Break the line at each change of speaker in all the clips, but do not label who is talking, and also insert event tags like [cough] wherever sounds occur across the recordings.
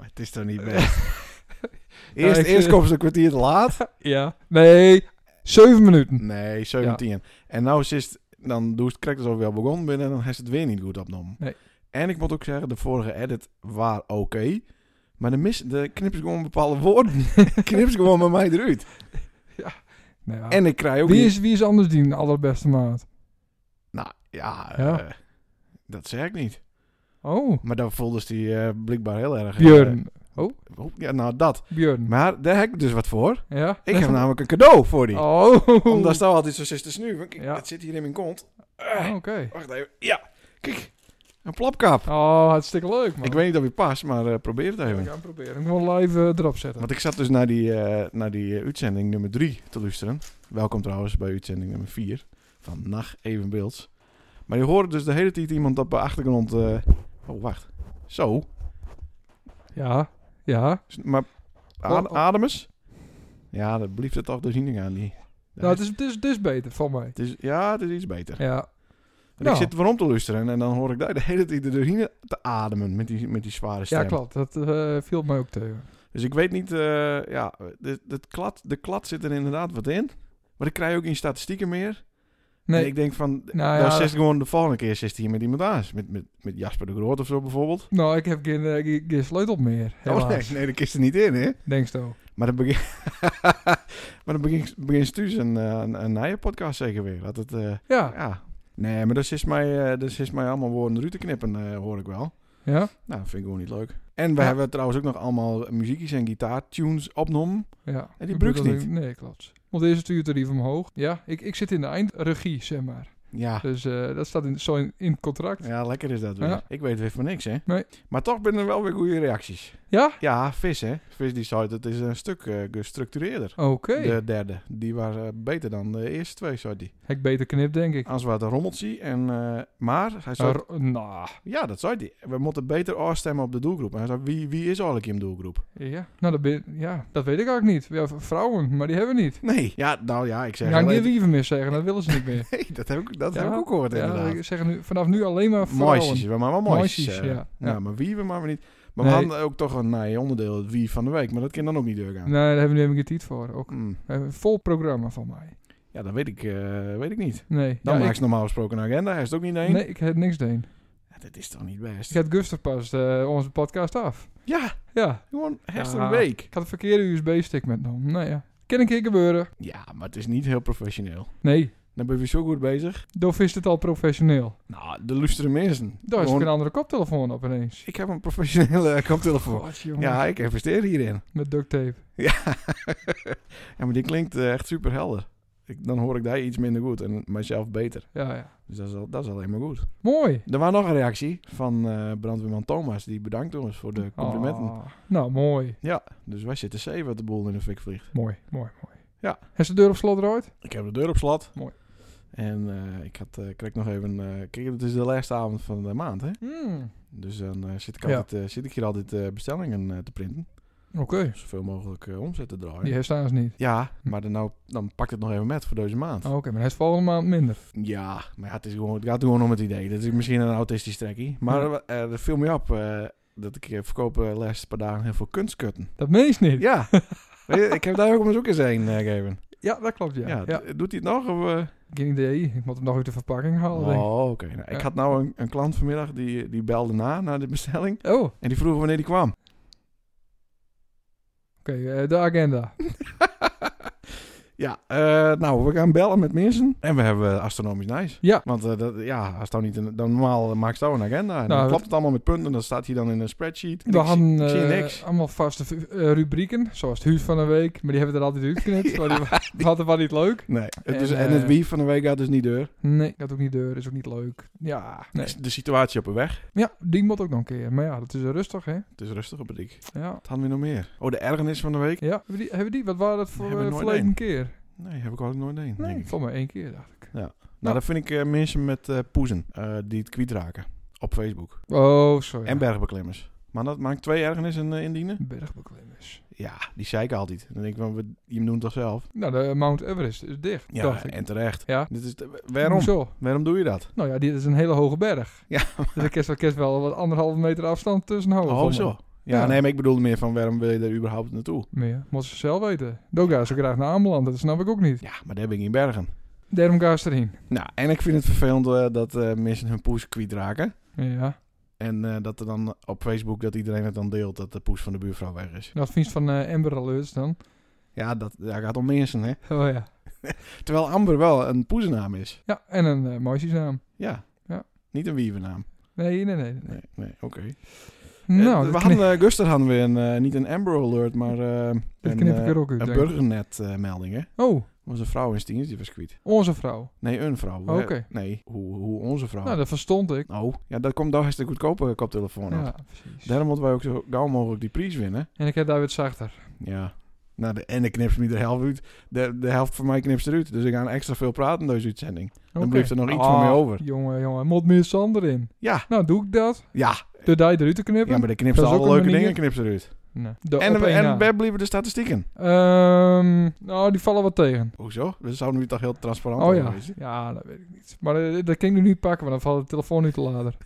Het is toch [laughs]
Eh,
niet best?
Nou,
eerst
ik-
eerst komen ze een kwartier te laat.
[laughs] Ja. Nee, zeven minuten.
Nee, 17. En nou is het, dan doe ik het correct alsof we al begonnen binnen en dan is het weer niet goed opgenomen.
Nee.
En ik moet ook zeggen, de vorige edit was oké. maar de, mis, de knippen ze gewoon bepaalde woorden.
[laughs]
knippen ze gewoon bij mij eruit.
Nou ja.
En ik krijg ook
wie,
niet-
is, wie is anders die allerbeste maat?
Nou, ja,
Ja.
eh, dat zeg ik niet.
Oh,
Maar daar voelde ze die eh, blijkbaar heel erg... eh,
Björn.
oh, ja, nou dat.
Björn.
Maar daar heb ik dus wat voor.
ja?
Ik heb namelijk een cadeau voor die.
[laughs] Oh.
Omdat ze nou altijd zo zit te snuiven. Kijk,
Ja. Oh.
dat zit hier in mijn kont.
Oké.
Wacht even. Ja, kijk. Een plapkap.
Oh, hartstikke leuk, man.
Ik weet niet of je past, maar eh, probeer het
Ja,
even.
Ik ga het proberen. Ik moet live eh, erop zetten.
Want ik zat dus naar die, eh, naar die eh, uitzending nummer 3 te luisteren. Welkom trouwens bij uitzending nummer 4 van Nacht Evenbeelds. Maar je hoorde dus de hele tijd iemand op de achtergrond. eh, oh, wacht. Zo.
Ja. Ja.
S- Maar
Oh,
ad
oh.
ademes? Ja, dat blieft het toch dus niet aan. Die.
Nou, het is, het, is, het is beter, voor mij.
Het is- ja, het is iets beter.
Ja.
En
Nou.
Ik zit waarom te luisteren en dan hoor ik daar de hele tijd erin te ademen met die, met die zware stem.
Ja, klopt. Dat eh, viel mij ook tegen.
Dus ik weet niet, eh, ja, de, de, klad, de klad zit er inderdaad wat in. Maar ik krijg ook in statistieken meer.
Nee.
En ik denk van,
Nou
dan
ja.
zit gewoon de volgende keer zit hij hier met iemand anders. Met, met, met Jasper de Groot of zo bijvoorbeeld.
Nou, ik heb geen, eh, geen- geen sleutel meer. Helaas.
Oh nee, nee, dat is er niet in, hè.
Denk zo.
Maar dan begin, [laughs] maar dan begin, begin Stuus een, eh, een, een nieuwe podcast zeker weer. Dat het, eh,
Ja.
ja. Nee, maar dat is mij, eh, dat is mij allemaal woorden eruit te knippen, eh, hoor ik wel.
Ja.
Nou, dat vind ik gewoon niet leuk. En we
Ja.
hebben trouwens ook nog allemaal muziekjes en gitaartunes opgenomen.
Ja.
En die
Ik
Brooks
bedoel,
niet.
Nee, klopt. Want deze stuurt er even omhoog. Ja, ik, ik zit in de eindregie, zeg maar.
Ja.
Dus eh, dat staat in, zo in, in het contract.
Ja, lekker is dat weer.
Ja.
Ik weet weer van niks, hè?
Nee.
Maar toch binnen er wel weer goede reacties.
Ja?
Ja, Vis, hè? Vis die zei dat is een stuk eh, gestructureerder.
Oké.
De derde. Die was eh, beter dan de eerste twee, zei die.
Heb ik beter knip, denk ik.
Als wat een rommeltje. En, eh, maar, hij zei...
Maar, nou,
ja, dat zei die We moeten beter afstemmen op de doelgroep. En hij zei, wie, wie is eigenlijk in de doelgroep?
ja. Nou, dat, ben- ja, dat weet ik eigenlijk niet. Ja, v- vrouwen, maar die hebben we niet.
Nee. Ja, nou ja, ik zeg...
Dan gaan die
alleen-
wieven meer zeggen, dat willen ze niet meer.
Nee, dat heb ik, [laughs] dat
Ja?
heb ik ook gehoord,
ja,
inderdaad.
ik zeg nu, vanaf nu alleen maar vrouwen.
Mooisjes, we maar wel mooisjes.
Mooisjes,
eh.
ja.
Nou,
Ja.
maar wie we maar weer niet. Maar we
Nee.
hadden ook toch een nee, onderdeel, het wie van de week. Maar dat kan dan ook niet doorgaan.
Nee, daar hebben we nu geen tijd voor. Ook.
Mm.
We hebben een vol programma van mij.
Ja, dat weet ik, eh, weet ik niet.
Nee,
Dan
ja,
maakt
ik,
ze normaal gesproken een agenda. Hij is het ook niet één.
nee, ik heb niks deen.
Ja, dat is toch niet best?
Ik had Gustav pas eh, onze podcast af.
Ja,
Ja,
gewoon herfst
Ja.
een week.
ik had een verkeerde USB-stick metgenomen. Nou ja, kan een keer gebeuren.
Ja, maar het is niet heel professioneel.
Nee,
Dan ben je zo goed bezig.
Dof is het al professioneel.
Nou, de lustere mensen.
Daar is ook
Gewoon,
een andere koptelefoon op ineens.
Ik heb een professionele [laughs] eh, koptelefoon.
God, Oh, jongen.
Ja, ik investeer hierin. [laughs]
Met duct tape.
Ja, ja maar die klinkt eh, echt super helder. Ik, dan hoor ik daar iets minder goed en mijzelf beter.
Ja, ja.
Dus dat is, al, dat is alleen maar goed.
Mooi.
Er was nog een reactie van eh, brandweerman Thomas. Die bedankt ons voor de complimenten.
Ah, nou, mooi.
Ja, dus wij zitten zeven wat de boel in de fik vliegt.
Mooi, mooi, mooi.
Ja.
Is de deur op slot eruit?
Ik heb de deur op slot.
Mooi.
En eh, ik had, eh kreeg nog even... eh, kijk, het is de laatste avond van de maand, hè?
Hmm.
Dus dan eh, zit, ik
Ja.
altijd, eh, zit ik hier altijd eh, bestellingen eh, te printen.
Oké.
Zoveel mogelijk eh, omzet te draaien.
Die herstaan is niet.
Ja, maar dan, nou, dan pakt het nog even met voor deze maand.
Hm. Oh, Oké, maar hij is volgende maand minder.
Ja, maar ja, het, is gewoon, het gaat gewoon om het idee. Dat is misschien een autistisch trekkie. Maar
Ja.
eh, eh, dat viel me op eh, dat ik eh, verkoop eh, de laatste paar dagen heel veel
[laughs]
kunstkutten.
Dat meen je niet.
Ja, Weet je, ik heb daar ook mijn zoekers heen eh gegeven.
Ja, dat klopt, ja.
Ja,
ja.
d- Doet hij het nog? Of, eh?
Geen idee. Ik moet hem nog uit de verpakking halen, denk ik.
Oh, oké. Nou, ik
Ja.
had nou een, een klant vanmiddag die, die belde na, na de bestelling.
Oh, oké.
En die vroeg wanneer die kwam.
eh, de agenda.
ja, eh, nou, we gaan bellen met mensen. En we hebben eh, astronomisch nice.
Ja.
Want eh, dat, ja, als het nou niet een, dan normaal maakt het nou een agenda. En
Nou,
dan
het-
klopt het allemaal met punten. Dan staat hij dan in een spreadsheet. En
We
ik zie-
hadden
ik zie
eh,
niks.
allemaal vaste v- eh, rubrieken, zoals het huis van de week. Maar die hebben we er altijd
[laughs]
uitgeknipt. want die wa- We hadden wat niet leuk.
Nee. Het
en,
is, en het
eh,
wie van de week gaat dus niet deur.
Nee, dat ook niet deur. Is ook niet leuk. Ja, nee.
Is De situatie op de weg.
Ja, die moet ook nog een keer. Maar ja, dat is rustig, hè?
Het is rustig op de dik.
Ja.
Wat hadden we nog meer? Oh, de ergernis van de week?
ja. Hebben, die, hebben die? Wat waren dat voor
Hebben
eh
we nooit
verleden
één.
keer?
Nee, heb ik ook nooit een.
Nee,
denk ik.
voor mij één keer, dacht ik.
Nou, dat vind ik eh, mensen met eh, poezen eh, die het kwijtraken op Facebook.
Oh, sorry.
En bergbeklimmers. Maar dat maakt twee ergernissen eh, indienen.
Bergbeklimmers.
Ja, die zeiken altijd. Dan denk ik van, we- je doet het toch zelf?
Nou, de Mount Everest is dicht,
Ja,
dacht ik.
en terecht.
Ja.
Dit is de- waarom?
Hoezo?
Waarom doe je dat?
Nou ja, dit is een hele hoge berg.
Ja,
[laughs] Dus ik kerst wel kerst wel wat anderhalve meter afstand tussen houden.
oh
voor me.
zo. Ja,
Ja.
nee, maar ik bedoelde meer van waarom wil je daar überhaupt naartoe?
Meer. Moet ze zelf weten. Daar gaan ze graag naar Ameland, dat snap ik ook niet.
Ja, maar daar ben ik in Bergen.
Daarom gaan ze erheen.
Nou, en ik vind het vervelend eh, dat eh, mensen hun poes kwijtraken.
Ja.
En eh, dat er dan op Facebook dat iedereen het dan deelt dat de poes van de buurvrouw weg is.
Dat advies van eh Amber Alerts dan.
Ja, dat daar gaat om mensen, hè.
Oh ja.
Terwijl Amber wel een poesennaam is.
Ja, en een uh, meisjesnaam.
Ja.
Ja.
Niet een wievennaam.
Nee, nee, nee. nee.
Nee, nee, oké.
Nou,
Eh, we
dat
hadden,
knip-
eh, Guster hadden we een, eh, niet een Amber Alert, maar eh,
dat
een,
knip ik
eh,
er ook uit,
een
denk ik.
burgernet-melding, hè.
Oh,
Was een vrouw in Stieners, die was kwijt.
onze vrouw.
Nee, een vrouw. Eh,
Oh, oké.
Nee, hoe, hoe onze vrouw.
Nou, dat verstond ik.
Oh, ja, dat komt daar hartstikke goedkope koptelefoon af.
Ja, precies.
Oh, nou. Daarom moeten wij ook zo gauw mogelijk die prijs winnen.
En ik heb daar weer het zachter.
Ja. Nou, de ene knipt niet de helft uit. De, de helft van mij knipt eruit. Dus ik ga extra veel praten in deze uitzending. Dan
Oké.
blijft er nog iets van
Ah,
mij over.
Jongen, jongen, moet meer Sander in.
Ja.
Nou, doe ik dat.
Ja,
De die eruit te knippen.
ja maar de knipt ze
Dat is
alle
ook een
leuke dingen
manier.
knipt ze eruit.
Nee. De
En,
op
we-
één
en
na.
waar blijven de statistieken?
Ehm, nou, die vallen wat tegen.
Hoezo? We zouden nu toch heel transparant
Oh
over
ja.
wezen?
Ja, dat weet ik niet. Maar eh, dat kan ik nu niet pakken, want dan valt de telefoon nu te later.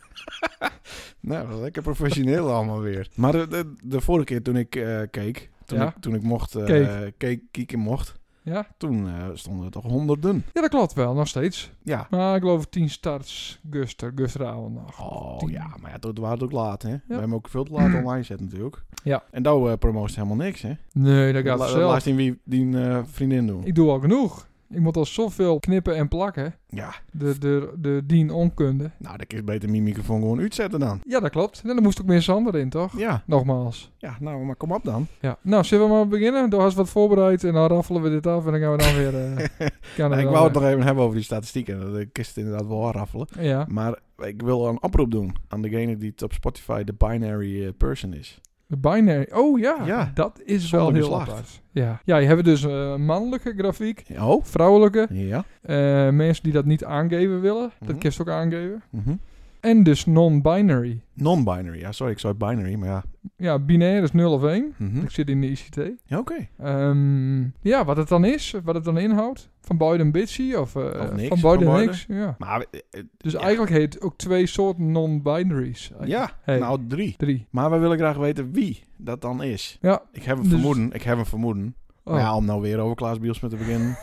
Nou, dat is lekker professioneel [laughs] allemaal weer. Maar de, de, de vorige keer toen ik eh, keek, toen,
Ja.
ik, toen ik mocht, eh
Keek.
keek- kieken mocht,
Ja?
toen eh, stonden er toch honderden.
Ja, dat klopt wel, nog steeds.
Ja.
Maar ik geloof 10 starts, Guster, Gusteravond nog.
Oh
tien.
ja, maar ja, dat waren het ook laat, hè? We hebben ook veel te laat online gezet natuurlijk.
Ja.
En daar eh promoot helemaal niks, hè?
Nee, dat gaat
La-
zelf.
Laat zien wie die eh, vriendin doen.
Ik doe al genoeg. Ik moet al zoveel knippen en plakken.
Ja,
De, de, de dien onkunde.
nou, dan kun je beter mijn microfoon gewoon uitzetten dan.
Ja, dat klopt. En dan moest ook meer Sander in, toch?
Ja,
Nogmaals.
ja, nou, maar kom op dan.
Ja. Nou, zullen we maar beginnen? Door was wat voorbereid en dan raffelen we dit af en dan gaan we dan weer...
[laughs]
eh, gaan
Nou,
we
ik
dan,
wou het
eh,
nog even hebben over die statistieken. Dat ik kist inderdaad wel raffelen.
Ja.
Maar ik wil een oproep doen aan degene die het op Spotify de binary eh, person is.
De binary. Oh ja,
Ja.
dat is
Zonder
wel heel
geslacht.
apart. Ja. ja, je hebt dus eh, mannelijke grafiek,
Oh?
vrouwelijke.
Ja.
eh, mensen die dat niet aangeven willen, dat
Mhm.
kun je ook aangeven.
Mhm.
En dus non-binary.
Non-binary. Ja, sorry, ik zei binary, maar ja.
Ja, binair is 0 of 1.
Mhm.
Ik zit in de ICT.
Ja, oké.
Ehm, ja, wat het dan is, wat het dan inhoudt. Van beide een bitchy of, eh,
niks,
van beide
van beide.
niks. Ja.
Maar, we- eh, eh,
Dus
Ja.
eigenlijk heet het ook twee soorten non-binaries.
ja,
Oh, Hey.
nou drie.
Drie.
Maar we willen graag weten wie dat dan is.
Ja.
Ik heb een
Dus-
vermoeden, ik heb een vermoeden.
Oh,
Maar ja, om nou weer over Klaas Bielsma te
[laughs]
beginnen,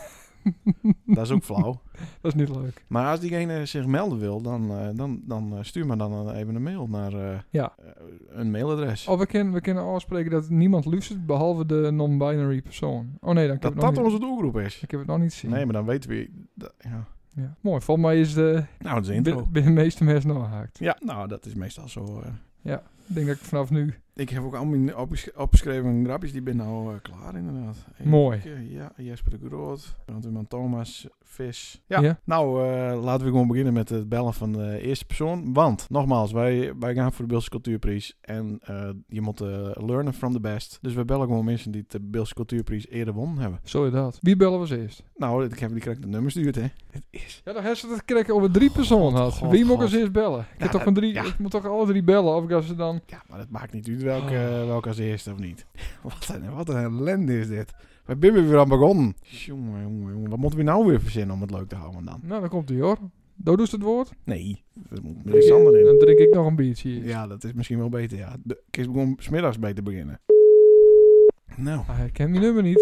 dat is ook flauw.
Dat is niet leuk.
Maar als diegene zich melden wil, dan, eh, dan, dan eh, stuur me dan een- even een mail naar eh,
Ja.
eh, een mailadres.
Oh, we kunnen, we kunnen afspreken dat niemand luistert behalve de non-binary persoon. Oh nee,
dat
dan kan ik het nog
dat
niet-
onze doelgroep is.
Ik heb het nog niet zien.
Nee, maar dan weten we... dat- ja.
ja. Mooi, volgens mij is de
Nou, dat is de intro.
binnen binnen de meeste mensen nog gehaakt.
Ja, nou, dat is meestal zo. eh.
Ik denk dat ik vanaf nu...
Ik heb ook al mijn opges- opgeschreven grapjes, die ben nou eh, klaar inderdaad. Ik,
Mooi.
eh, ja, Jesper de Groot, Brandweerman Thomas, Vis. Ja,
Ja.
nou eh, laten we gewoon beginnen met het bellen van de eerste persoon. Want, nogmaals, wij, wij gaan voor de Beelse Cultuurprijs en eh, je moet eh, learnen from the best. Dus we bellen gewoon mensen die de Beelse Cultuurprijs eerder won hebben.
Zo is dat. Wie bellen we als eerst?
Nou, ik heb die krijgt de nummers duurt, hè. Het is...
Ja, dan hebben ze het kregen over drie personen had.
God,
Wie moet ik
God.
als eerst bellen? Ik, heb
Ja,
toch een drie,
ja.
ik moet toch alle drie bellen? Of ik als ze dan...
Ja, maar dat maakt niet uit welke, welke als eerste of niet. [laughs] Wat een, wat een ellende is dit. Waar ben je weer aan begonnen? Jongen, jongen, jongen. Wat moeten we nou weer verzinnen om het leuk te houden dan?
Nou, dan komt hij hoor. Doe ze het woord.
Nee, er moet meneer Sander in.
Dan drink ik nog een biertje. hier.
Ja, dat is misschien wel beter, ja. De, ik is gewoon smiddags beter beginnen. Nou,
Ah, hij kent mijn nummer niet.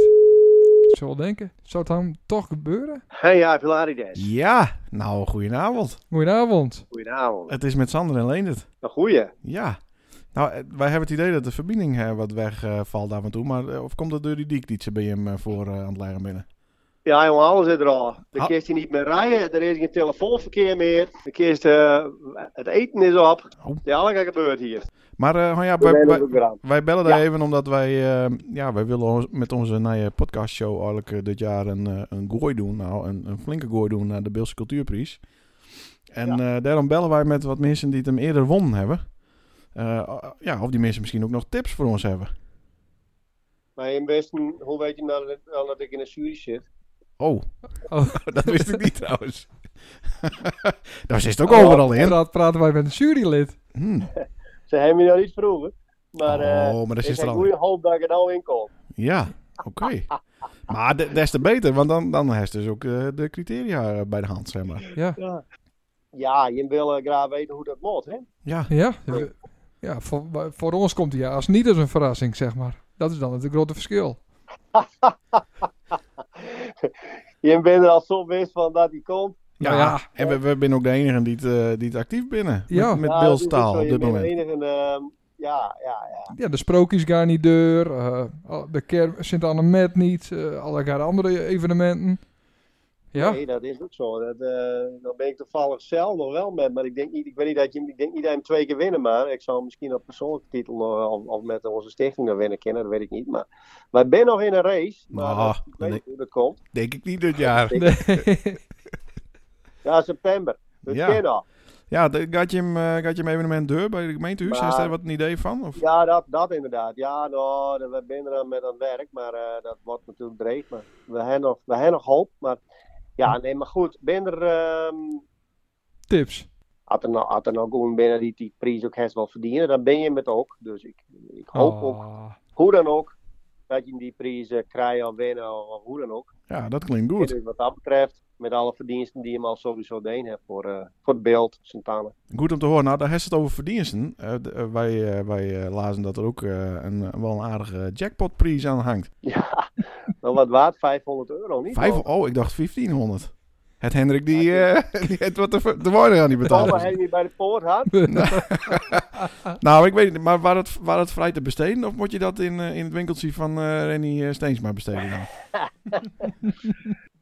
Ik zou wel denken. Zou het dan toch gebeuren?
Hey, ja, Pilarides.
ja. Nou, goedenavond.
Goedenavond.
Goedenavond.
Het is met Sander en Leendert.
Een goeie.
Ja. Nou, eh, wij hebben het idee dat de verbinding eh, wat wegvalt af en toe. Maar eh, of komt dat door die diek die ze bij hem eh, voor eh, aan het leggen binnen?
Ja, jongen, alles is er al. Dan
Ah.
kun je niet meer rijden, er is geen telefoonverkeer meer. Dan kun je, eh, het eten is op.
Oh.
Het is alles wat gebeurt hier.
Maar eh, nou ja,
We
wij,
zijn
wij,
ook weer aan.
wij bellen daar
Ja.
even omdat wij... eh, ja, wij willen ons- met onze nieuwe podcastshow eigenlijk eh, dit jaar een, eh, een gooi doen. Nou, een, een flinke gooi doen naar de Beelse Cultuurprijs. En eh, daarom bellen wij met wat mensen die het hem eerder won hebben. Eh, ja, of die mensen misschien ook nog tips voor ons hebben.
Maar in Westen, hoe weet je nou dat, nou dat ik in de jury zit?
Oh,
Oh.
[laughs] dat wist ik niet
[laughs]
trouwens. Daar zit ook
Oh,
overal in.
Praat, praten wij met een jurylid.
Hmm.
Ze hebben me nou iets vroeger. eh, Maar, eh,
Oh, maar dat
ik
is
heb
er
een
al.
goede hoop dat ik er nou in kom.
Ja, oké. Maar de- des te beter, want dan, dan heeft dus ook eh, de criteria eh, bij de hand, zeg maar.
Ja.
Ja, je wil eh, graag weten hoe dat moet, hè?
Ja,
Ja.
Ja.
Ja, voor, voor ons komt hij als niet als een verrassing, zeg maar. Dat is dan het grote verschil.
Je bent er al zo wist van dat die komt.
Nou ja.
En we, we zijn ook de enige die het, eh, die het actief binnen.
Ja.
Met, met
Ja,
Bills
dus
taal
ik
op
zou
dit
je
moment.
meer enige, ehm, ja, ja, ja.
Ja, de sprookjes gaan niet deur, eh, al- de ker sint annemet niet, eh allerlei andere evenementen. Ja, [laughs]
Nee, dat is ook zo. Dat, eh, dan ben ik toevallig zelf nog wel met. Maar ik denk niet, ik weet niet dat je hem- ik denk niet dat je hem twee keer winnen. Maar ik zou misschien op persoonlijke titel nog, of, of met onze stichting nog winnen kennen. Dat weet ik niet. Maar wij zijn nog in een race. Maar
Ah,
dat- ik
dat
weet
denk-
niet hoe dat komt.
Denk ik niet dit jaar.
Nee.
Ja, september. Dat
Ja.
kan al.
Ja, de- gaat je hem, eh, gaat je hem evenement deur bij de gemeentehuis?
Maar-
Heeft daar wat een idee van? Of?
Ja, dat, dat inderdaad. Ja, nou, dat- we zijn er aan met aan het werk, maar eh, dat wordt natuurlijk dreig. Maar we hebben nog, we hebben nog hoop. Maar ja, nee, maar goed. Ben er, ehm,
tips.
had er nou, had er nou gewoon binnen die, die prijs ook best wel verdienen, dan ben je het ook. Dus ik, ik hoop
Oh.
ook,
Ah. [laughs]
hoe dan ook, dat je die prijs eh, krijgt of winnen of, of hoe dan ook.
Ja, dat klinkt goed.
Dus wat dat betreft, met alle verdiensten die je hem al sowieso deed hebt voor, eh, voor het beeld, Santana.
Goed om te horen. Nou, daar heeft het over verdiensten. Eh, d- eh, wij eh, wij eh, lazen dat er ook eh, een, eh, wel een aardige jackpotprijs aan hangt.
[laughs] Ja, dan wat waard 500 euro, niet?
Vijf,
Want-
[laughs] oh, ik dacht 1500. Het Hendrik die, eh [laughs] die heeft wat te, ver- te worden aan die
Allemaal
betalen.
heen die bij de poort had.
Nou, ik weet niet, maar waar het, waar het vrij te besteden? Of moet je dat in, eh, in het winkeltje van eh Rennie eh, Steensma besteden dan?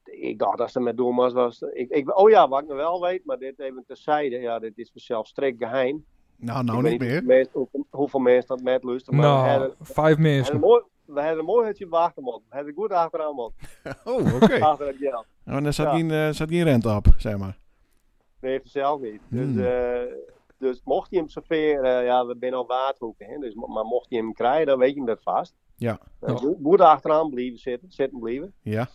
ik dacht dat ze met doelmans was. Ik, ik, oh ja, wat ik nog wel weet, maar dit even terzijde. Ja, dit is zelf strikt geheim.
Nou,
Ik
nou
weet
niet meer.
hoeveel mensen- hoeveel, hoeveel mensen dat met luisteren. Maar we
nou,
hadden,
vijf
we hadden een
mensen.
mooi, we hadden een mooi hutje wachten, man. We hadden goed achteraan, man.
Oh, oké.
[laughs] Achter het geld.
Nou, daar zat,
Ja.
geen, eh, zat geen rente op, zeg maar.
Nee, zelf niet. Dus,
Hmm.
eh, dus mocht hij hem serveren, eh, ja, we zijn al waardhoeken. Hè? Dus, mo- maar mocht hij hem krijgen, dan weet je hem dat vast.
Ja.
Nou,
Ja.
goed- Goed achteraan blijven zitten, zitten blijven.
Ja.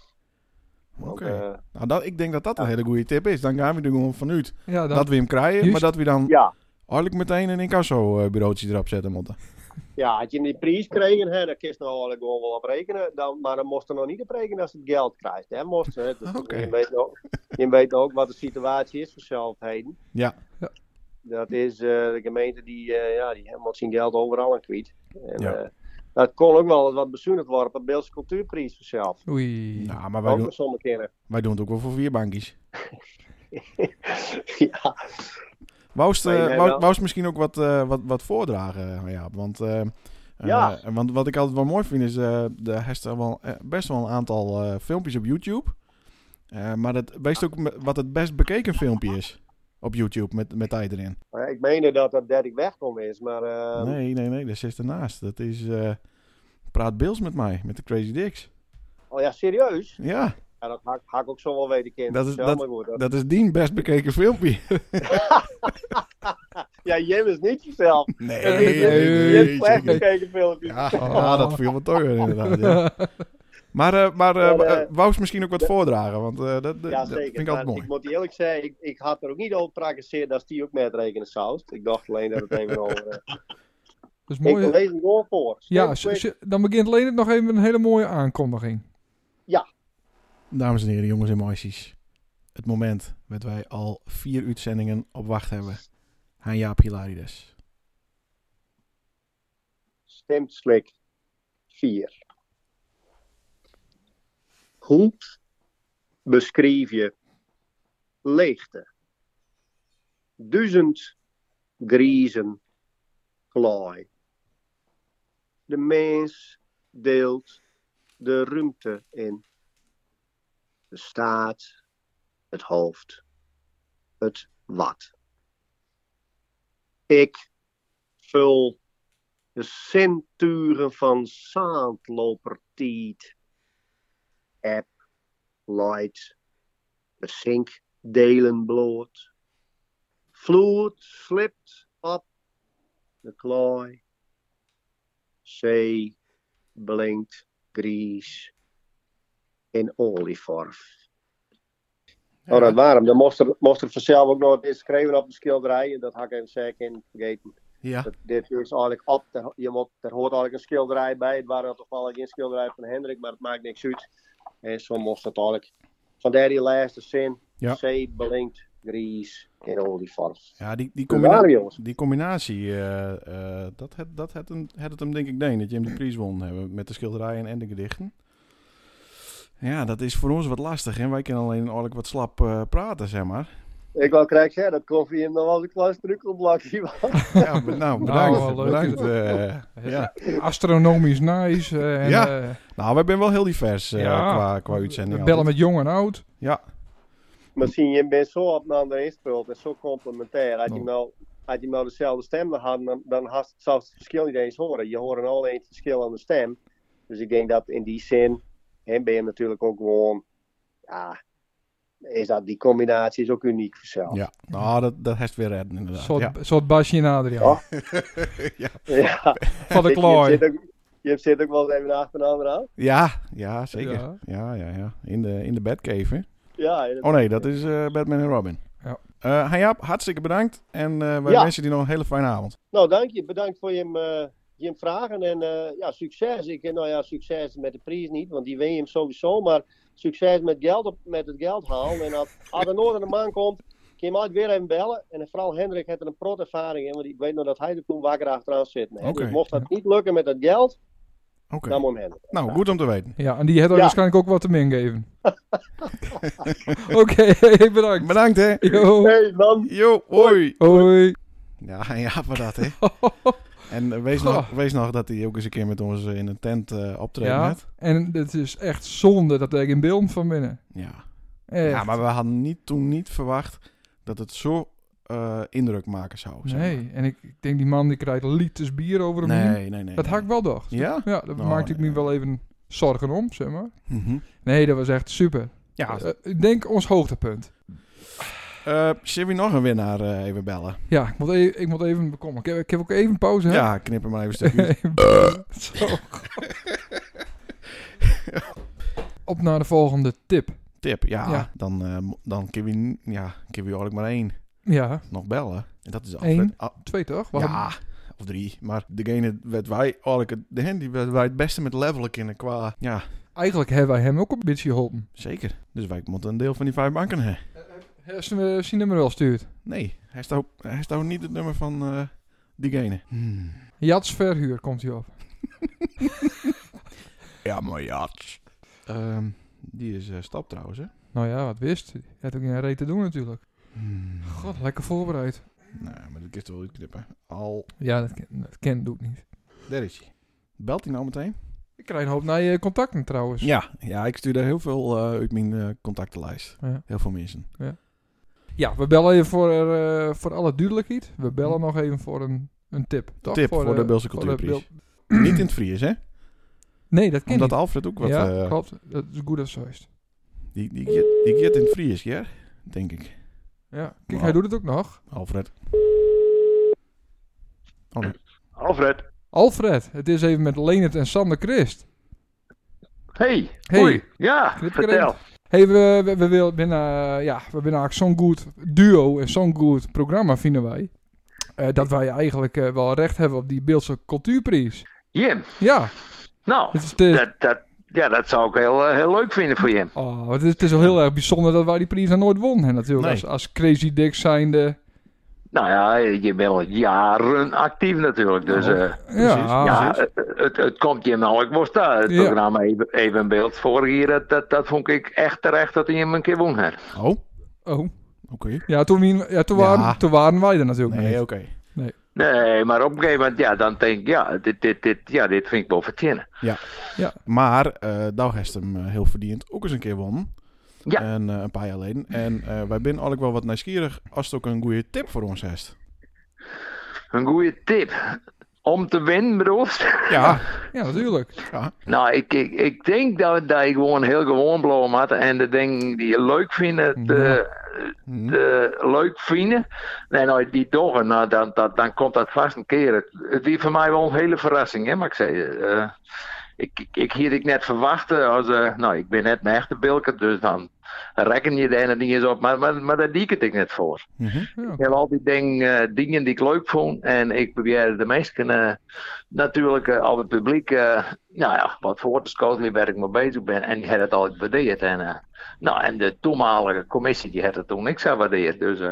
Oké.
Want, eh,
Nou, dat, ik denk dat dat een hele goede tip is. Dan gaan we er gewoon vanuit
Ja, dan,
dat we hem krijgen,
Juist.
maar dat we dan
ja.
eigenlijk meteen een incasso-bureautje erop zetten moeten.
Ja, had je hem die prijs kregen, hè, dan kist nou eigenlijk gewoon wel op rekenen. Dan, maar dan moest er nog niet op rekenen als het geld krijgt. Hè, moest, hè. Dus
Oké.
je, weet ook, je weet ook wat de situatie is voor zelfheden.
Ja.
Ja.
Dat is eh, de gemeente die, eh, ja, die helemaal zijn geld overal aan kwijt. En,
Ja.
eh, dat kon ook wel wat bezuinigd worden op de Beelse Cultuurprijs voor zelf.
Oei.
Nou, maar wij
Ook
doen,
voor sommige kinderen. [laughs]
wij doen het ook wel voor vier bankjes.
ja.
Woust,
Nee,
eh,
nee,
wou-
wel.
wou ze misschien ook wat, eh, wat, wat voordragen, ja. Want, eh, eh,
Ja.
want wat ik altijd wel mooi vind is, eh de heeft er wel, eh, best wel een aantal eh, filmpjes op YouTube. Eh, maar dat wees ook me- wat het best bekeken filmpje is op YouTube met, met tijd erin.
Maar Ik meende dat dat Derek Wegkom is, maar eh,
nee, nee, nee, daar zit ernaast. Dat is eh, Praat Bills met mij, met de Crazy Dicks.
oh ja, serieus?
Ja,
Ja, dat haak ik ook zo wel weten, kind.
Dat is-
Ja,
dat-
maar goed, dat-
dat is die best bekeken [laughs] filmpje.
Ja, Jim is niet jezelf.
Nee,
nee,
nee, nee,
Je hebt
zeker
slecht
niet.
gekeken filmpjes.
[laughs] Ja, ja, dat viel me toch weer inderdaad. ja. [laughs] Maar, eh maar eh,
Maar, eh,
eh, wou ze misschien ook wat voordragen, want eh, dat, dat-
Ja,
dat
zeker.
vind ik
maar
altijd mooi.
ik moet eerlijk zeggen, ik, ik had er ook niet over praktiseerd dat die ook met rekenen saus. Ik dacht alleen dat het een weer over... eh,
Dus
ik
mooie,
lees hem gewoon voor.
ja,
Quick,
s-
quick.
s- dan begint Leendert nog even een hele mooie aankondiging.
Dames en heren, jongens en meisjes. Het moment dat wij al vier uitzendingen op wacht hebben. Aan Jaap Hilarides.
Stemt slik 4. Hoe beschrijf je leegte? Duizend griezen glooi. De mens deelt de ruimte in. De staat, het hoofd, het wat. Ik vul de centuren van zandlopertiet. App, light, de zink delen bloot. Vloed slipt op de klooi. Zee blinkt gries in olievorf. Oh, dat waarom? Dan moest er, moest er vanzelf ook nog eens schrijven op de schilderij. En dat had ik even zeker in vergeten.
Ja,
Dat- dit is eigenlijk op. Er, je moet, er hoort eigenlijk een schilderij bij. Het waren toevallig geen schilderij van Hendrik, maar het maakt niks uit. En zo moest het eigenlijk. Vandaar die laatste zin.
Ja.
C blinkt Gries en al die varkens.
Ja, die, die, combina-
Bewaren jongens.
die combinatie, eh, eh, dat, het, dat het, hem, het het hem denk ik deed, dat je hem de prijs won hebben met de schilderijen en de gedichten. Ja, dat is voor ons wat lastig en wij kunnen alleen eigenlijk wat slap eh, praten, zeg maar.
Ik wil graag zeggen dat koffie hem nog wel eens een klein struikelblokje was.
Ja, be- nou, bedankt.
wel leuk
bedankt
is
eh, ja.
Astronomisch nice. eh, en,
Ja,
eh,
Nou, we zijn wel heel divers eh,
Ja.
qua, qua uitzending.
Bellen
altijd.
met jong en oud.
Ja,
Misschien je bent zo op een andere inspult en zo complementair. Had je hem nou, had je hem nou dezelfde stem gehad, dan, dan had, zou het verschil niet eens horen. Je hoort al eens het verschil aan de stem. Dus ik denk dat in die zin, hem ben je natuurlijk ook gewoon, ja, is dat, die combinatie is ook uniek voor zelf.
ja. nou, dat, dat heeft weer redden inderdaad.
Soort,
ja. [laughs]
soort Basje en Adriaan.
Ja. [laughs] Ja.
Van de
Oh. Ik- je
klooi.
zit ook- Je zit ook wel eens even achter een ander aan.
ja, ja, zeker.
Ja.
Ja, ja, ja. In, de, in de Batcave, hè?
Ja, inderdaad.
Oh nee, dat is eh, Batman en Robin.
Ja.
Eh, Hayab, hartstikke bedankt. En eh, wij
Ja.
wensen je nog een hele fijne avond.
Nou, dank je. Bedankt voor je, eh, je vragen. En eh, ja, succes. Ik, eh, nou ja, succes met de prijs niet, want die win je hem sowieso. Maar succes met, geld op, met het geld halen. En als, als er nooit aan de man komt, kun je hem altijd weer even bellen. En vooral Hendrik heeft er een prot ervaring in, want ik weet nog dat hij er toen wakker achteraan zit. hè.
Oké.
Dus mocht dat niet lukken met dat geld,
Oké.
dan moet hem Hendrik.
Nou, goed om te weten.
Ja, en die heeft
Ja.
waarschijnlijk ook wat te min geven. [laughs] Oké, [laughs] bedankt.
Bedankt hè.
Jo.
Hey, man.
Jo, hoi.
Hoi.
Ja, Hayab was
[laughs]
dat hè. En eh, wees, nog,
Goh.
wees nog dat hij ook eens een keer met ons eh, in een tent eh optreden
Ja,
had.
en het is echt zonde dat er geen beeld van binnen.
Ja.
Echt.
ja, maar we hadden niet, toen niet verwacht dat het zo eh, indruk maken zou. zeg
Nee, en ik, ik denk die man die krijgt liters bier over
maar.
hem
Nee,
heen.
nee, nee.
Dat
nee.
had ik wel dacht.
Ja?
Ja, daar
Nou,
maakte ik
nee.
me wel even zorgen om, zeg maar.
Mhm.
Nee, dat was echt super.
Ja.
Eh, ik denk ons hoogtepunt.
Eh, zullen we nog een winnaar eh, even bellen?
Ja, ik moet even, ik moet even bekomen. Ik heb, ik heb ook even pauze. hè?
Ja, knip hem maar even een stukje. uit. [laughs]
Eh. Zo. Op naar de volgende tip.
Tip, ja.
Ja.
Dan, eh, mo- dan kun je, n- ja, kun je eigenlijk maar één
Ja,
nog bellen. En dat is
Eén?
Alfred. Ah,
twee toch? We hadden-
ja, of drie. Maar degene werd wij eigenlijk het, degene die werd wij het beste met levelen kunnen qua... Ja,
Eigenlijk hebben wij hem ook een beetje geholpen.
zeker. Dus wij moeten een deel van die vijf banken hebben.
Hij is eh, zijn nummer wel stuurt.
Nee, hij staat hij staat niet het nummer van eh, diegene.
Hmm. Jats Verhuur komt hij op.
Ja, maar ja. Ehm, die is eh, stap trouwens, hè?
Nou ja, wat wist. Hij had ook geen reet te doen natuurlijk. God, lekker voorbereid.
Nee, Nou, maar dat kun je toch wel uitknippen. Al,
Ja, dat, ken- dat ken doet niet.
daar is hij. Belt hij nou meteen?
Ik krijg een hoop naar je contacten trouwens.
Ja, ja ik stuurde heel veel eh, uit mijn eh, contactenlijst.
Ja.
Heel veel
[clears throat]
mensen.
Ja, we bellen je voor, eh, voor alle duidelijkheid. We bellen nog even voor een, een tip. Toch?
Hm. Tip voor, de Beelse
voor de
Cultuurprijs.
Bel-
Niet in het Fries, hè?
Nee, dat ken
Omdat
niet.
Alfred ook wat...
ja,
eh,
klopt. Dat is goed als zoist.
die, die, get- die get in het Fries, ja? Denk ik.
Ja, kijk,
Nou.
hij doet het ook nog.
Alfred. Oh, nee.
Alfred.
Alfred, het is even met Leonard en Sander Christ.
Hey.
Hey.
Hoi. Ja,
Knip
vertel.
Hey, we, we, we, willen binnen, eh, ja, we zijn eigenlijk zo'n goed duo en zo'n goed programma, vinden wij. eh, dat wij eigenlijk eh, wel recht hebben op die Beeldse Cultuurprijs.
Jim.
Ja,
Nou,
het is, het is- eh,
dat, dat, ja, dat zou ik heel, eh, heel leuk vinden voor Jim.
oh, het is, het is wel heel erg bijzonder dat wij die prijs nog nooit wonnen. Natuurlijk,
Nee.
als, als Crazy Dick zijnde.
Nou ja, je bent al jaren actief natuurlijk. Dus eh,
Ja,
ja, het, het, het komt Jim nou al. Ik was daar. Het
Ja.
programma even, even in beeld vorig jaar. Dat, dat, dat vond ik echt terecht dat hij hem een keer won had.
Oh, oké.
Oh, ja, toen, wie- ja, toen,
Ja.
Waren, toen waren wij er natuurlijk
Nee,
niet.
oké.
Nee, maar op een gegeven moment, ja, dan denk ik, ja, dit, dit, dit, ja, dit vind ik wel verdienen.
Maar eh nou heeft hem eh, heel verdiend ook eens een keer won.
Ja.
En, eh, een paar jaar geleden. En eh, wij zijn eigenlijk wel wat nieuwsgierig als het ook een goede tip voor ons heeft.
Een goede tip. Om te winnen, bedoel je?
Ja.
Ja, natuurlijk.
Nou, ik, ik, ik denk dat, dat ik gewoon heel gewoon blauw had. En de dingen die je leuk vinden, de,
Mhm.
de leuk vinden. En als je die doggen, nou, dan, dan, dan komt dat vast een keer. Het- Het is voor mij wel een hele verrassing, hè, mag ik zeggen. Eh, ik, ik, ik hier ik net verwachten. Als, eh, nou, ik ben net een echte bilker, dus dan rekken je de ene ding eens op. Maar, maar, maar daar diek het ik net voor.
Mhm.
Ja.
Ik heb altijd ding, eh, dingen die ik leuk vond. En ik probeer de meesten eh, natuurlijk eh, al het publiek eh, nou ja, wat voor te schotelen waar ik mee bezig ben. En die had het altijd waardeerd. En, eh, nou, en de toenmalige commissie die had het toen niks aan waardeerd. Dus eh,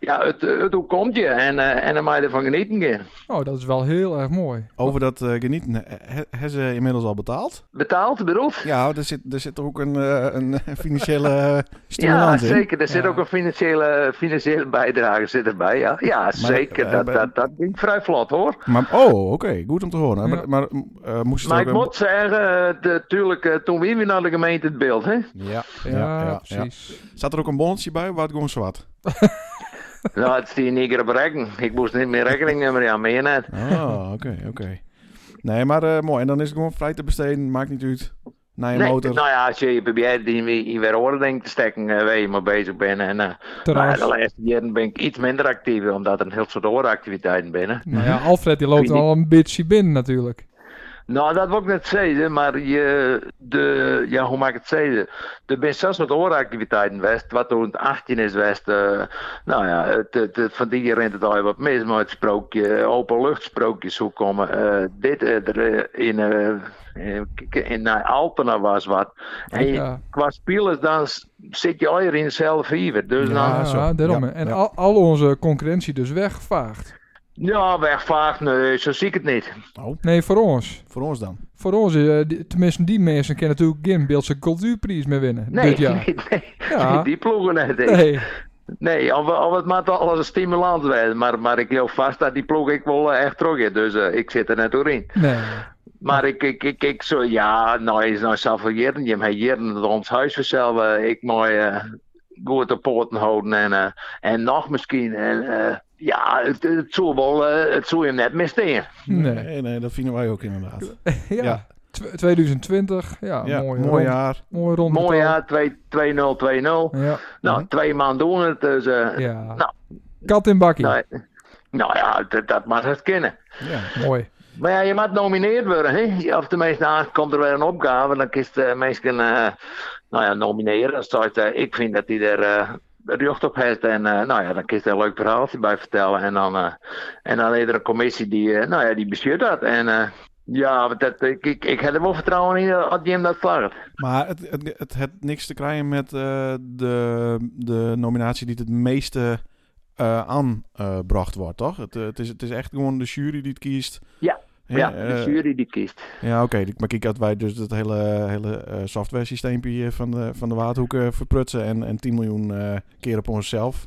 ja, het, eh, het hoe komt je? En, eh, en dan mag je ervan genieten. gaan.
Oh, dat is wel heel erg mooi.
Over dat eh, genieten, eh, he- hebben ze inmiddels al betaald?
Betaald bedoeld?
Ja, er zit, er zit toch ook een, eh, een financiële eh, stimulans
ja,
in.
zeker. Er zit
Ja.
ook een financiële, financiële bijdrage zit erbij. Ja, ja zeker.
eh,
dat,
bij-
dat, dat ging vrij vlot hoor.
Maar, oh, oké, goed om te horen. Maar, maar eh, moest je
Maar
het ook
ik
een-
moet zeggen, eh, natuurlijk, eh, toen weer weer naar de gemeente het beeld. Hè?
Ja, ja,
Ja,
ja, ja.
precies.
Zat er ook een bonnetje bij? Waar het gewoon zwart.
nou, het stond niet keer op rekken. Ik moest niet meer rekeningnummer aan, meer net.
[laughs] Oh, oké, oké. Nee, maar eh, mooi. En dan is het gewoon vrij te besteden. Maakt niet uit. Naar je
Nee,
motor.
nou ja, als je je probeert die in- in weer orde denkt te steken eh, waar je mee bezig bent. En, eh, maar
Terras.
de laatste jaren ben ik iets minder actief, omdat er een heel soort andere activiteiten binnen.
Nou ja, Alfred die loopt
Wie niet-
al een beetje binnen natuurlijk.
Nou, dat wil ik net zeggen, maar je, de, ja, hoe maak ik het zeggen? Er zijn zelfs wat horenactiviteiten geweest, wat toen het 18 is geweest. eh, nou ja, het, het, het- van die jaar rent het al wat mis, maar het sprookje, openluchtsprookjes, hoe komen eh, dit eh, er, eh, in, eh, in, in naar Alpena was wat. En je-
Ja.
qua spelers, dan s- zit je al hier in hetzelfde vijver. Dus
Ja.
dan
Ah, Ja,
zo.
daarom.
Ja,
En
ja.
Al, al onze concurrentie dus weggevaagd.
ja, wegvaag, nee, zo zie ik het niet.
Oh,
Nee, voor ons.
voor ons dan.
Voor ons, eh, die- tenminste die mensen kunnen natuurlijk geen Beeldse cultuurprijs meer winnen.
Nee,
dit jaar.
[laughs] nee, nee,
Ja.
die ploegen net. ik.
Nee.
Nee, al, al het maakt alles een stimulans wijzen. Maar, maar ik heel vast dat die ploeg ik wel eh, echt terug in. Dus eh, ik zit er net door in.
nee.
Maar ik, ik, ik, ik zo, ja, nou is nou zoveel jaren. Je hebt jaren dat ons huis vanzelf. eh, ik moet eh goed de poorten houden. En, eh, en nog misschien. En, eh, ja, het, het zou wel, eh, het zou hem net missteen.
Nee.
nee, nee, dat vinden wij ook inderdaad.
Ja.
[laughs] Ja.
Tw- 2020. Ja,
Ja,
mooi.
mooi,
rond-
jaar.
Mooi rond.
Mooi jaar, 2 2-0, 2-0.
Ja.
Nou, twee maanden doen we het. Dus, eh,
ja.
Nou.
Kat in bakkie.
nou, nou ja, dat, dat mag het kennen.
Ja.
Mooi.
Maar ja, je moet nomineerd worden, hè? Of tenminste, nou, komt er weer een opgave, dan kiest de mensen eh nou ja, nomineren. Dan staat, eh, ik vind dat hij er eh recht op heeft. En eh, nou ja, dan kiest er een leuk verhaaltje bij vertellen. En dan, eh, en dan is er een commissie die, eh, nou ja, die bestuurt dat. En eh, ja, want dat, ik, ik, ik heb er wel vertrouwen in dat Jim dat slaagt.
Maar het, het, het had niks te krijgen met eh, de, de nominatie die het, het meeste eh aanbracht wordt, toch? Het, eh, het, is, het is echt gewoon de jury die het kiest.
Ja,
Hè,
ja,
eh,
de jury die kiest.
Ja, oké. Maar kijk, dat wij dus dat hele, hele eh software systeempje van de, van de Waardhoeken verprutsen en, en 10 miljoen eh, keer op onszelf
[laughs]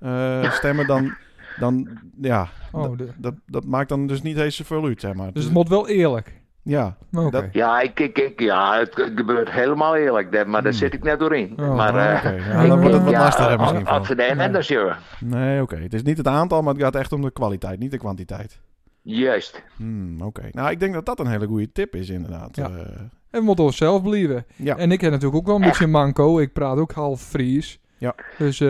eh, stemmen, dan, dan ja,
Oh, de-
dat, dat maakt dan dus niet eens zoveel uit, zeg maar.
dus het moet wel eerlijk.
Ja,
Maar Oké.
Dat-
Ja, ik, ik, ik, ja, het gebeurt helemaal eerlijk, dat- maar daar
Hmm.
zit ik net doorheen.
Oh,
maar, eh,
oké. Ja, dan wordt het wat
ja,
lastiger misschien.
als
Van.
we daar net naar zullen.
Nee, oké. Het is niet het aantal, maar het gaat echt om de kwaliteit, niet de kwantiteit.
Juist.
Hmm, oké. Nou, ik denk dat dat een hele goede tip is, inderdaad.
Ja.
Eh,
En we moeten onszelf blijven.
ja.
En ik heb natuurlijk ook wel een beetje een manco. Ik praat ook half Fries.
Ja.
Dus, eh,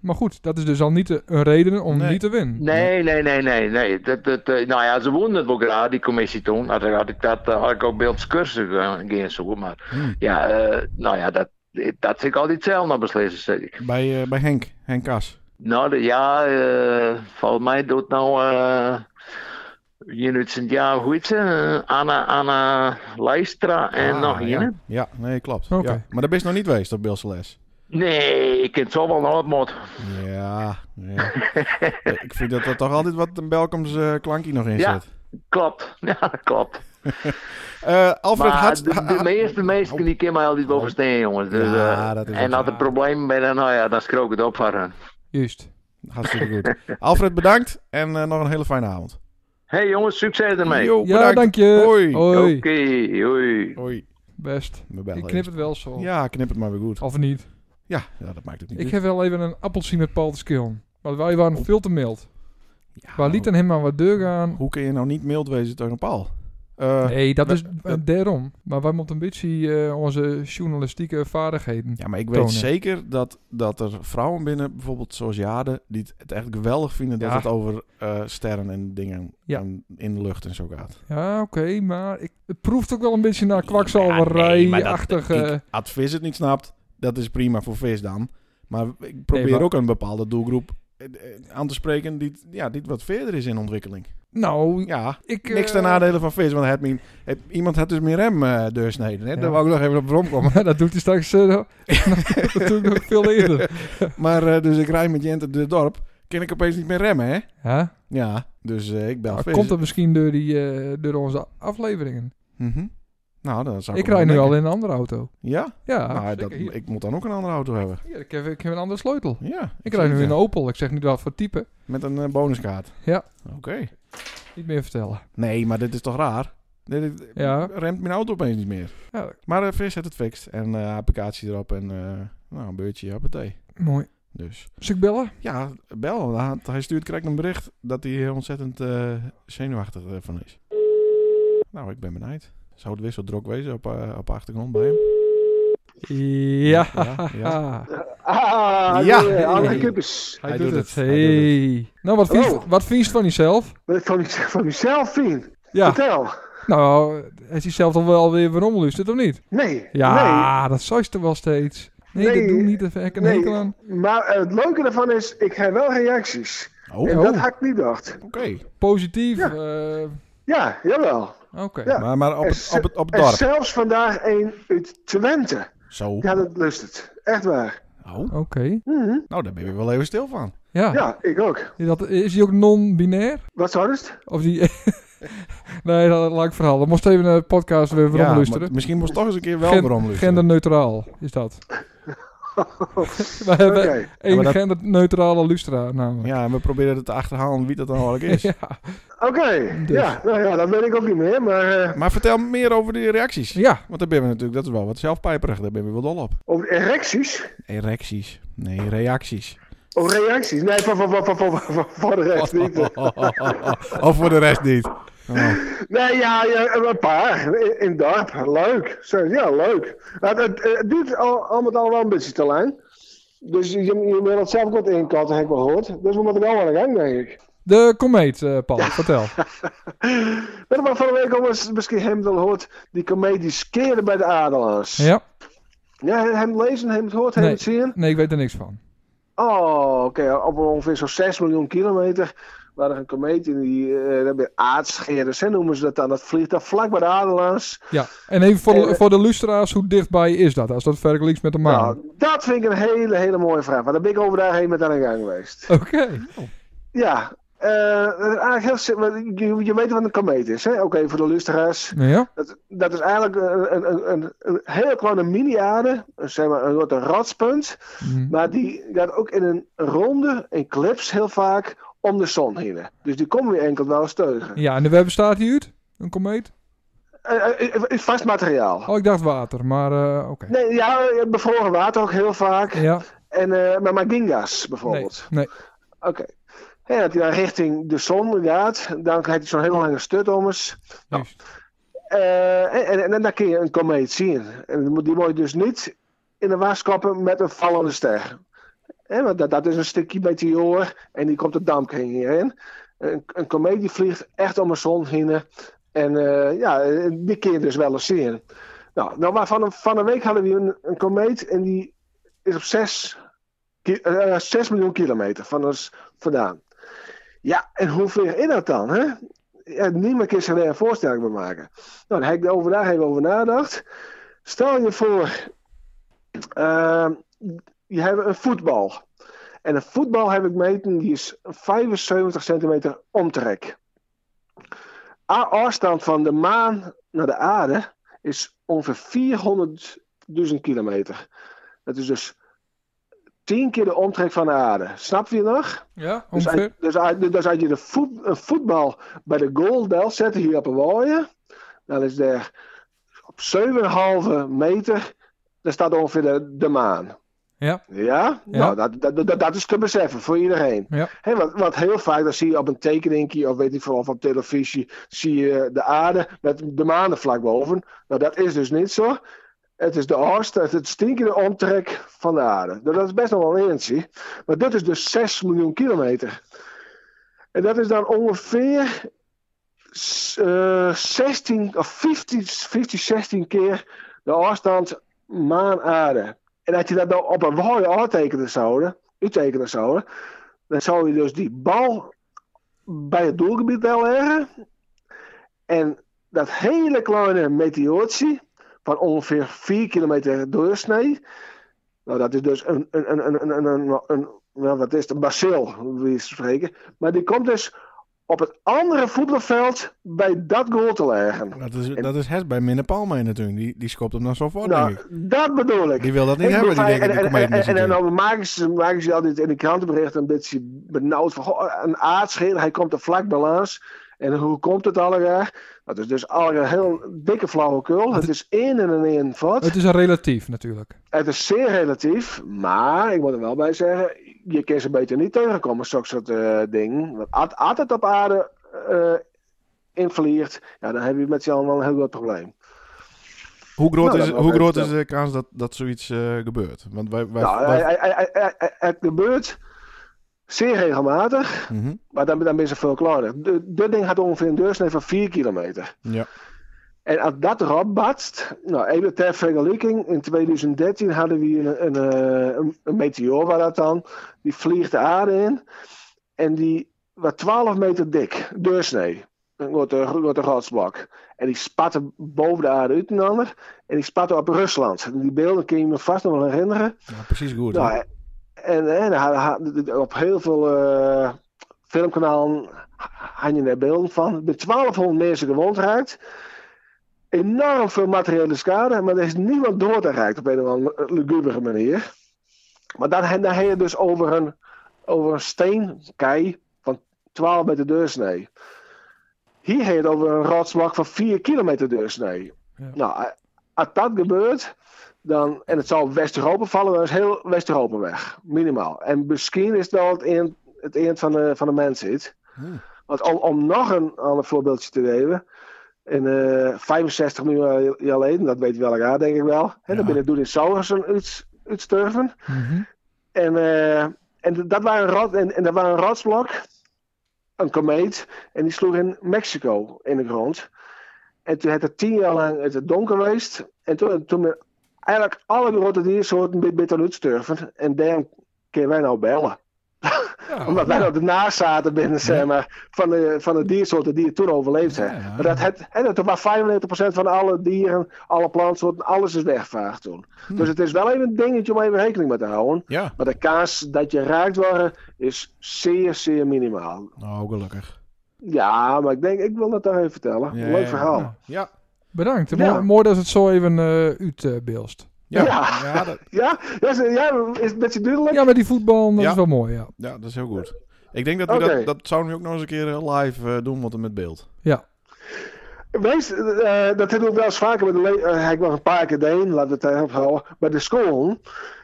maar goed, dat is dus al niet eh, een reden om
Nee.
niet te winnen.
Nee, nee, nee, nee. nee. Dat, dat, eh, nou ja, ze woonden het wel graag, die commissie toen. Had, ik- had ik dat eh, had ik ook beeldscursus eh, gaan zoeken. Maar
Hmm.
ja, eh, nou ja, dat, dat zit ik altijd zelf naar beslissen. zeg ik.
Bij, eh, bij Henk, Henk Kas.
Nou de- ja, eh, volgens mij doet nou. eh Jenut Sint-Jaar, hoe heet ze? Eh, Anna, Anna Leistra en
Ah,
Eh, nog
ja.
iemand.
ja, nee, klopt.
Oké.
Ja. Maar daar ben je nog niet geweest op Beelse Les.
Nee, ik ken zo wel een opmot.
Ja,
[laughs]
ja. ik vind dat er toch altijd wat een Belkoms eh, klankje nog in
Ja.
zit.
Klopt. [laughs] Ja, klopt.
Eh, Alfred
Maar
Hartst...
de, de meeste mensen die kennen mij altijd wel verstaan, jongens. Dus,
Ja,
eh,
dat is ook
en als
zo.
er problemen bij dan, nou ja, dan schrook het op voor hen.
Juist.
Hartstikke goed. Alfred, bedankt en eh, nog een hele fijne avond.
Hey jongens, succes ermee.
Jo,
Ja, dank je.
Hoi.
Oké,
Hoi.
hoi.
Hoi.
Best.
We bellen
Ik knip
even.
het wel zo.
Ja, knip het maar weer goed.
Of niet.
Ja, ja dat maakt het niet
Ik
uit.
heb wel even een appeltje met Paul de Skillen. Want wij
Oh.
waren veel te mild.
Ja,
Wij lieten hem maar wat deur gaan.
Hoe kun je nou niet mild wezen tegen een paal? Eh,
Nee, dat
we-
is eh, daarom. Maar wij moeten een beetje eh, onze journalistieke vaardigheden.
Ja, maar ik weet
Tonen.
zeker dat, dat er vrouwen binnen, bijvoorbeeld zoals Jade, die het- het echt geweldig vinden dat
Ja.
het over eh, sterren en dingen
Ja.
en in de lucht en zo gaat.
Ja, oké, maar ik, het proeft ook wel een beetje naar kwakzalverij-achtige...
Advis het niet snapt, dat is prima voor vis dan. Maar ik probeer
maar-
ook een bepaalde doelgroep eh, eh, aan te spreken die, ja, die wat verder is in ontwikkeling.
Nou,
Ja,
ik...
niks ten
eh,
nadele van vis, want het mean- het- iemand had dus meer rem eh deursneden. Hè?
Ja.
Daar wou ik nog even op rondkomen.
Maar [laughs] dat doet hij straks eh, nog- natuurlijk nog veel eerder.
maar eh, dus ik rijd met Jente de dorp, kan ik opeens niet meer remmen, hè?
Ja?
Ja, dus eh, ik bel
Maar
vis.
komt dat misschien door, die, eh, door onze afleveringen?
Mhm. Nou, dan zou ik
Ik
hem
rijd nu
wel
al
denken.
in een andere auto.
Ja?
Ja,
nou,
zeker.
dat,
Hier.
ik moet dan ook een andere auto hebben.
Hier, ik, heb, ik heb een andere sleutel.
Ja.
Ik
zie
rijd nu
het,
in een
ja.
Opel. Ik zeg niet wat voor type.
Met een eh, bonuskaart.
Ja.
Oké.
Niet meer vertellen.
Nee, maar dit is toch raar? Dit, dit-
Ja.
Remt mijn auto opeens niet meer.
Ja,
Maar eh, Vis heeft het fixt. En eh, applicatie erop en eh, nou, een beurtje, hoppatee.
mooi.
Dus
Zal ik bellen?
ja, bel. want hij- Hij stuurt correct een bericht dat hij heel ontzettend eh, zenuwachtig eh, van is. Nou, ik ben benijd. Zou het weer zo drok wezen op, eh, op de achtergrond bij hem?
Ja.
Ja,
[laughs]
Ah,
Ja.
ja. Alle kubbes.
Hij, doet, het. Hey. Nou, wat
Hallo.
vies, wat vies van jezelf?
Wat ik eh, van, van uzelf vind.
Ja.
Vertel.
Nou, is hij zelf toch wel weer waarom luistert of niet?
Nee.
Ja, dat zou je toch wel steeds. Nee,
Nee.
dat doe ik niet. Daar heb ik een
Nee.
hekel aan.
Nee. Maar eh, het leuke daarvan is, ik krijg wel reacties.
Oh,
En
oké.
dat had ik niet gedacht.
Positief.
Ja.
eh,
Ja, jawel.
Oké.
Ja.
Maar, maar op,
En
het, op, het, op het
En
dorp.
zelfs vandaag een uit Twente.
Zo.
Ja, dat lust het. Echt waar.
Oh.
Oké.
Mhm.
Nou, daar ben je wel even stil van.
Ja.
Ja, ik ook.
Dat, is hij ook non-binair?
Wat zou het?
Of die... [laughs] nee, dat is een lang verhaal. Dan moest even naar de podcast weer waarom luisteren.
maar misschien moest toch eens een keer wel
Gen-
waarom luisteren.
Genderneutraal is dat. We hebben
Oké.
Ja,
één
maar dat-
genderneutrale luisteraar namelijk.
Ja, en we proberen het te achterhalen wie dat dan
[laughs]
eigenlijk is.
Ja.
Oké.
Dus.
Ja, nou ja, dat weet ik ook niet meer. Maar eh,
Maar vertel meer over die reacties.
ja.
Want daar ben we natuurlijk, dat is wel wat zelfpijperig. Daar ben we wel dol op.
over erecties.
Erecties. Nee, reacties.
Over reacties. Nee, voor, voor, voor, voor, voor, voor- voor de
[laughs]
rest niet.
Oh, of voor de rest niet. Oh,
Nee, ja, ja, eh, een paar. In, in het dorp. Leuk. Zo, ja, leuk. Het, het, het duurt al, al met al wel een beetje te lang. Dus je, je moet dat zelf ook wat inkatten, heb ik wel gehoord. Dus we moeten wel aan de gang, denk ik. [laughs]
De komeet, eh, Paul, vertel.
Weet je wat van de week al was, misschien hem wel hoort, die comedie skeren bij de adelaars.
Ja?
Ja, hem lezen, hem het hoort, hem
Nee.
het zien.
Nee, ik weet er niks van.
Oh, oké. Op ongeveer zo'n 6 miljoen kilometer waren er een komeet in die eh dat bij aardscheren. Hè, noemen ze dat dan. Dat vliegt daar vlak bij de Adelaars.
Ja. En even voor,
Eh,
de, voor de luisteraars, hoe dichtbij is dat? Als dat vergelijkt met de maan.
Nou, dat vind ik een hele, hele mooie vraag. Want daar ben ik over daarheen met aan de gang geweest.
Oké.
Ja, eh, eigenlijk heel sim- want je, je weet wat een komeet is. hè? Oké, voor de luisteraars.
Ja?
Dat, dat is eigenlijk een, een, een, een, een hele kleine mini-aarde. Een, Zeg maar een soort ratspunt.
Mhm.
Maar die gaat ook in een ronde, in clips heel vaak, om de zon heen. Dus die komen weer enkel wel eens teugen.
Ja, en de web bestaat die uit? Een komeet?
Eh, eh, eh, vast materiaal.
Oh, ik dacht water, maar eh, oké.
Nee, ja, eh, bevroren water ook heel vaak.
Ja,
En, eh, maar Magingas
nee,
bijvoorbeeld.
nee.
Oké. En dat hij dan richting de zon gaat, dan heeft hij zo'n hele lange stut om eens. Nou,
juist.
Eh, en, en, en dan kun je een komeet zien. En die moet- die moet je dus niet in de was kappen met een vallende ster. Eh, want dat, dat is een stukje meteor en die komt de dampkring hierin. Een, een komeet die vliegt echt om een zon heen. En eh, ja, eh, die kun je dus wel eens zien. Nou, nou maar van, een, van een week hadden we een, een komeet en die is op 6, miljoen kilometer van ons vandaan. Ja, en hoe vlieg je dat dan? Hè? Ja, niemand kan zich daar een voorstelling bij maken. Nou, daar heb ik overdag even over nagedacht. Stel je voor, ehm, je hebt een voetbal. En een voetbal heb ik meten, die is 75 centimeter omtrek. A- afstand van de maan naar de aarde is ongeveer 400.000 kilometer. Dat is dus 10 keer de omtrek van de aarde. Snap je nog?
Ja,
Dus als,
ongeveer.
dus, uit- dus als je de voet, een voetbal bij de goal zet hier op een waaien, dan is er op 7,5 meter, daar staat ongeveer de, de maan.
Ja.
Ja? Nou, dat, dat, dat, dat is te beseffen voor iedereen.
Ja.
Hè, want, want heel vaak, dan zie je op een tekeningje of weet ik veel, of op televisie, zie je de aarde met de maan er vlak boven. Nou, dat is dus niet zo. Het is de oost, het is het stinkende omtrek van de aarde. Nou, dat is best nog wel eentje. Maar dit is dus 6 miljoen kilometer. En dat is dan ongeveer s- eh, 16 of 15, 15 16 keer de afstand maan-aarde. En als je dat nou op een mooi aantekenen zouden, uittekenen zouden, dan zou je dus die bal bij het doelgebied wel leggen. En dat hele kleine meteoortje, van ongeveer 4 kilometer doorsnee, nou dat is dus een, een, een, een, een, een, een- nou, wat is het, een bacil, wie is spreken. Maar die komt dus op het andere voetbalveld bij dat goal te leggen.
Dat is, dat is het bij Minne Palme natuurlijk. Die, die schopt hem dan zo voor,
Nou,
denk ik.
dat bedoel ik.
Die wil dat niet hebben, die
en,
denken, die
en,
kometen
en,
is
en, en
natuurlijk.
dan maken ze, maken ze altijd in de krantenbericht een beetje benauwd van goh, een aardschil, hij komt er vlak bij langs. En hoe komt het allemaal? Dat is dus allemaal heel dikke flauwekul. Het is één en een één vat.
Het is een relatief natuurlijk.
Het is zeer relatief, maar ik moet er wel bij zeggen, je kan ze beter niet tegenkomen, zo'n soort eh ding. Want als als het op aarde eh invliegt, ja, dan heb je met z'n allen wel een heel groot probleem.
Hoe groot,
Nou, dat
is,
wel
hoe
weer
groot
wel.
is de kans dat, dat zoiets eh, gebeurt? Want wij... wij,
nou,
wij-
hij- hij- hij- hij- hij- het gebeurt zeer regelmatig,
Mhm.
maar dan, dan ben je veel kleiner. De- Dit ding gaat ongeveer een deursnee van 4 kilometer.
Ja.
En als dat erop batst, nou even ter vergelijking, in 2013 hadden we een, een, eh, een, een meteoor, waar dat dan, die vliegt de aarde in en die was 12 meter dik, doorsnee, een grote, grote rotsblok. En die spatte boven de aarde uit en ander en die spatte op Rusland. En die beelden kun je me vast nog wel herinneren.
Nou, precies goed. hè?
Nou, en en, en ha- ha- op heel veel eh, filmkanalen had je daar beelden van. Er zijn 1200 mensen gewond geraakt. Enorm veel materiële schade, maar er is niemand door te raakt op een of andere lugubere manier. Maar dan, he- dan heb je dus over een, over een steenkei van 12 meter deursnee. Hier heb je het over een rotsblok van 4 kilometer deursnee.
Ja.
Nou, eh, als dat gebeurt, dan, en het zal West-Europa vallen, dan is heel West-Europa weg. Minimaal. En misschien is dat het eind, het eind van, de, van de mens zit.
Hmm.
Want om, om nog een ander voorbeeldje te geven. In eh, 65 miljoen jaar- jaar geleden, dat weet wel elkaar denk ik wel. Hè,
Ja.
Dan ben je dinosaurussen uit, uitsterven.
Mhm.
En, eh, en, dat waren een rot, en, en dat waren een rotsblok, een komeet, en die sloeg in Mexico in de grond. En toen had het tien jaar lang het donker geweest. En toen, toen ben eigenlijk alle grote diersoorten bit bit aan het sterven. En daarom kunnen wij nou bellen.
Ja,
Omdat wij nou de nazaten binnen, zeg maar, van de, van de diersoorten die het toen overleefd hebben.
Ja, ja.
Maar dat het, hè, dat er maar 95% van alle dieren, alle plantsoorten, alles is weggevaagd toen. Dus het is wel even een dingetje om even rekening mee te houden.
Ja.
Maar de kaas dat je raakt wordt, is zeer, zeer minimaal.
Nou, gelukkig.
Ja, maar ik denk, ik wil dat daar even vertellen.
Ja,
Leuk
ja,
verhaal.
Ja. Ja.
Bedankt.
Ja.
Mooi, mooi dat het zo even eh uitbeelst.
Ja.
Ja.
Ja, dat,
Ja, ja, is, ja, is het beetje duidelijk?
ja, maar die voetbal, dat
Ja.
is wel mooi, ja.
ja, dat is heel goed. Ik denk dat we
Oké.
dat, dat zouden we ook nog eens een keer eh, live eh, doen, want dan met beeld.
Ja,
Wees, eh, dat hebben we wel eens vaker met de le- eh, ik nog een paar keer deed, laten we het daarop houden, bij de school.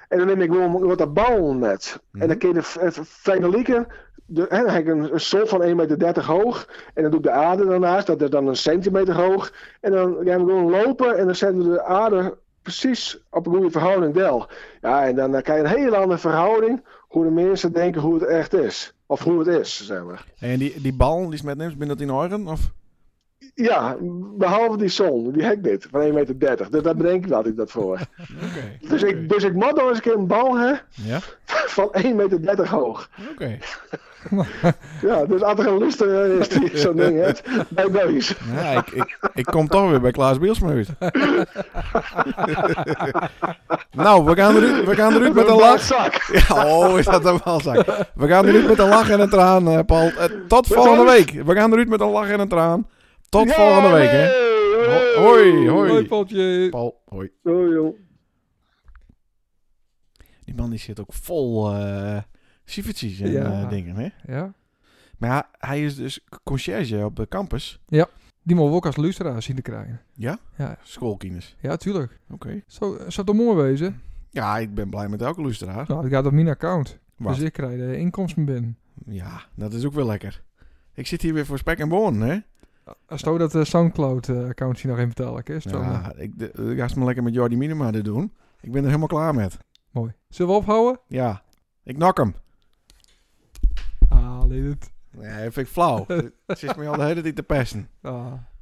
En dan neem ik gewoon wat dat bouwen met. En dan kun je de v- v- vergelijken. De, hè, dan heb ik een, een sol van 1,30 meter hoog. En dan doe ik de aarde daarnaast, dat is dan een centimeter hoog. En dan gaan we gewoon lopen en dan zetten we de aarde precies op een goede verhouding del. Ja, en dan, dan krijg je een hele andere verhouding hoe de mensen denken hoe het echt is. Of hoe het is, zeg maar.
En die, die bal die is met neemt, binnen dat in oren? Of?
Ja, behalve die zon, die hek dit, van 1,30 meter. Dus daar bedenk ik altijd dat
[laughs]
voor.
Oké.
Dus ik, dus ik moet nog eens een keer een bal hebben
Ja?
[laughs] van 1,30 meter hoog.
Oké.
Ja, dus als er een luster is
[laughs]
die zo'n ding heeft, bij deze.
Ja, ik, ik, ik kom toch weer bij Klaas Bielsma uit. [laughs] nou, we gaan eruit, we gaan eruit met een lach.
zak.
Ja, oh, is dat een balzak. We gaan eruit met een lach en een traan, eh, Paul. Eh, tot volgende week. We gaan eruit met een lach en een traan. Tot volgende week, hè. Ho- hoi, hoi.
mooi potje.
Paul, hoi.
Hoi, joh.
Die man die zit ook vol eh sievertjes en
Ja.
eh, dingen, hè.
Ja.
Maar ja, hij is dus conciërge op de campus.
Die mogen we ook als luisteraar zien te krijgen.
Schoolkinders.
Ja, tuurlijk.
Oké.
Zo, zou toch mooi wezen?
Ja, ik ben blij met elke luisteraar.
Nou, ik gaat op mijn account.
Wat?
Dus ik krijg de inkomsten binnen.
Ja, dat is ook wel lekker. Ik zit hier weer voor spek en bonen, hè.
Als je dat eh, Soundcloud-accountje nog even vertellen, hè? Is het dan, eh,
Ja, ik, de- ik ga het maar lekker met Jordi Minima dit doen. Ik ben er helemaal klaar met.
mooi. Zullen we ophouden?
Ja, ik nak hem.
Ah, dit. Ah,
Nee, vind ik flauw. Ze is me al de hele tijd te pesten.
Ah.